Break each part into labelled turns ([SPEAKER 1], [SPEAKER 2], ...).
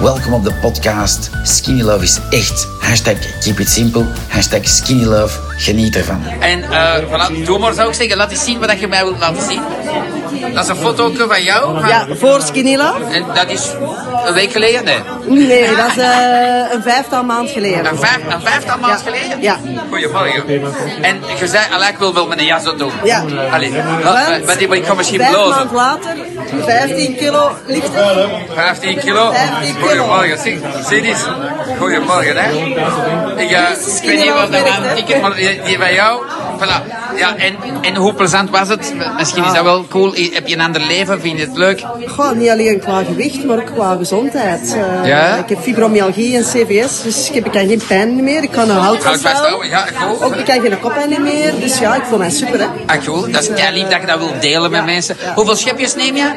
[SPEAKER 1] Welkom op de podcast. Skinny Love is echt. Hashtag keep it simple. Hashtag skinny love. Geniet ervan.
[SPEAKER 2] En eh voilà, doe maar zou ik zeggen, laat eens zien wat je mij wilt laten zien. Dat is een foto eh, van jou. van-
[SPEAKER 3] Ja, voor Skinny Love?
[SPEAKER 2] En dat is een week geleden, nee.
[SPEAKER 3] Nee, dat is eh, een vijftal maand geleden.
[SPEAKER 2] Een, vijf, een vijftal maand
[SPEAKER 3] Ja.
[SPEAKER 2] geleden?
[SPEAKER 3] Ja.
[SPEAKER 2] Goedemorgen. En je zei, Allah, ik wil wel met een jas doen.
[SPEAKER 3] Ja.
[SPEAKER 2] Allee, wat- wat- Ah, eh, maar ik kan misschien
[SPEAKER 3] vijf
[SPEAKER 2] blozen.
[SPEAKER 3] maand later, 15 kilo lichter.
[SPEAKER 2] 15 kilo.
[SPEAKER 3] 15 kilo.
[SPEAKER 2] Goedemorgen, zie, zie dit. Goedemorgen, hè. Ik, eh,
[SPEAKER 3] Dit is
[SPEAKER 2] ik weet niet wat
[SPEAKER 3] Skinny
[SPEAKER 2] er aan
[SPEAKER 3] Love,
[SPEAKER 2] het ticket, maar die die bij jou. Voilà. Ja, en, en hoe plezant was het? Misschien
[SPEAKER 3] Ah.
[SPEAKER 2] is dat wel cool. Heb je een ander leven? Vind je het leuk?
[SPEAKER 3] Gewoon niet alleen qua gewicht, maar ook qua gezondheid. Eh,
[SPEAKER 2] Ja?
[SPEAKER 3] Ik heb fibromyalgie en CVS, dus ik, heb, ik kan geen pijn meer. Ik kan een hout
[SPEAKER 2] Kan ik
[SPEAKER 3] vasthouden.
[SPEAKER 2] vasthouden? Ja, goed.
[SPEAKER 3] Ook ik kan geen koppijn meer, dus ja, ik voel mij super. Hè.
[SPEAKER 2] Ah, cool. Dat is kei lief dat je dat wilt delen met mensen. Hoeveel schepjes neem je?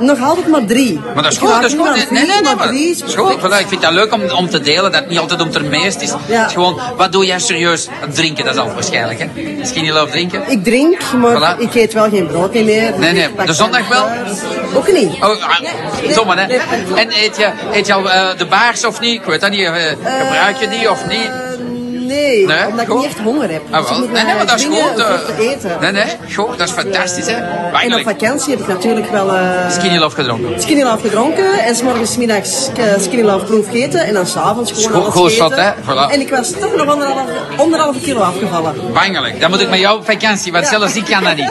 [SPEAKER 3] Nog altijd maar drie.
[SPEAKER 2] Maar dat is
[SPEAKER 3] Ik
[SPEAKER 2] goed,
[SPEAKER 3] hou
[SPEAKER 2] dat is
[SPEAKER 3] niet
[SPEAKER 2] goed.
[SPEAKER 3] van
[SPEAKER 2] Nee, nee,
[SPEAKER 3] vier,
[SPEAKER 2] nee.
[SPEAKER 3] maar
[SPEAKER 2] maar-
[SPEAKER 3] drie is
[SPEAKER 2] dat is goed.
[SPEAKER 3] perfect.
[SPEAKER 2] Voilà, ik vind dat leuk om, om te delen, dat het niet altijd om ter meest is.
[SPEAKER 3] Ja.
[SPEAKER 2] Het is gewoon, wat doe jij serieus? Drinken, dat is al waarschijnlijk, hè? Misschien niet loopt drinken.
[SPEAKER 3] Ik drink, maar
[SPEAKER 2] Voilà.
[SPEAKER 3] ik eet wel geen brood meer.
[SPEAKER 2] Nee, nee.
[SPEAKER 3] Ik pak
[SPEAKER 2] De zondag wel?
[SPEAKER 3] thuis. Ook niet.
[SPEAKER 2] Oh, ah,
[SPEAKER 3] Nee,
[SPEAKER 2] dommen, hè?
[SPEAKER 3] nee, nee.
[SPEAKER 2] En eet je, eet je al eh, de baars of niet? Ik weet dat niet. eh, gebruik je die of niet?
[SPEAKER 3] Eh, nee,
[SPEAKER 2] Nee,
[SPEAKER 3] omdat
[SPEAKER 2] goed.
[SPEAKER 3] ik niet echt honger heb.
[SPEAKER 2] Ah, wel.
[SPEAKER 3] Dus ik moet
[SPEAKER 2] Nee, nee,
[SPEAKER 3] mij
[SPEAKER 2] maar dat is
[SPEAKER 3] dwingen
[SPEAKER 2] goed.
[SPEAKER 3] om
[SPEAKER 2] eh,
[SPEAKER 3] goed te eten.
[SPEAKER 2] Nee, nee. Goed, dat is fantastisch, hè?
[SPEAKER 3] En op
[SPEAKER 2] Eigenlijk.
[SPEAKER 3] vakantie heb ik natuurlijk wel eh
[SPEAKER 2] Skinny love gedronken.
[SPEAKER 3] skinny love gedronken. En 's morgens 's middags eh, skinny love proef gegeten. En dan s'avonds gewoon
[SPEAKER 2] Goed-
[SPEAKER 3] alles
[SPEAKER 2] goed
[SPEAKER 3] gegeten.
[SPEAKER 2] zat, hè? Voilà.
[SPEAKER 3] En ik was toch nog anderhalve, anderhalve kilo afgevallen.
[SPEAKER 2] Bangelijk. Dan moet ik met jou op vakantie, want
[SPEAKER 3] Ja.
[SPEAKER 2] zelfs ik kan dat niet.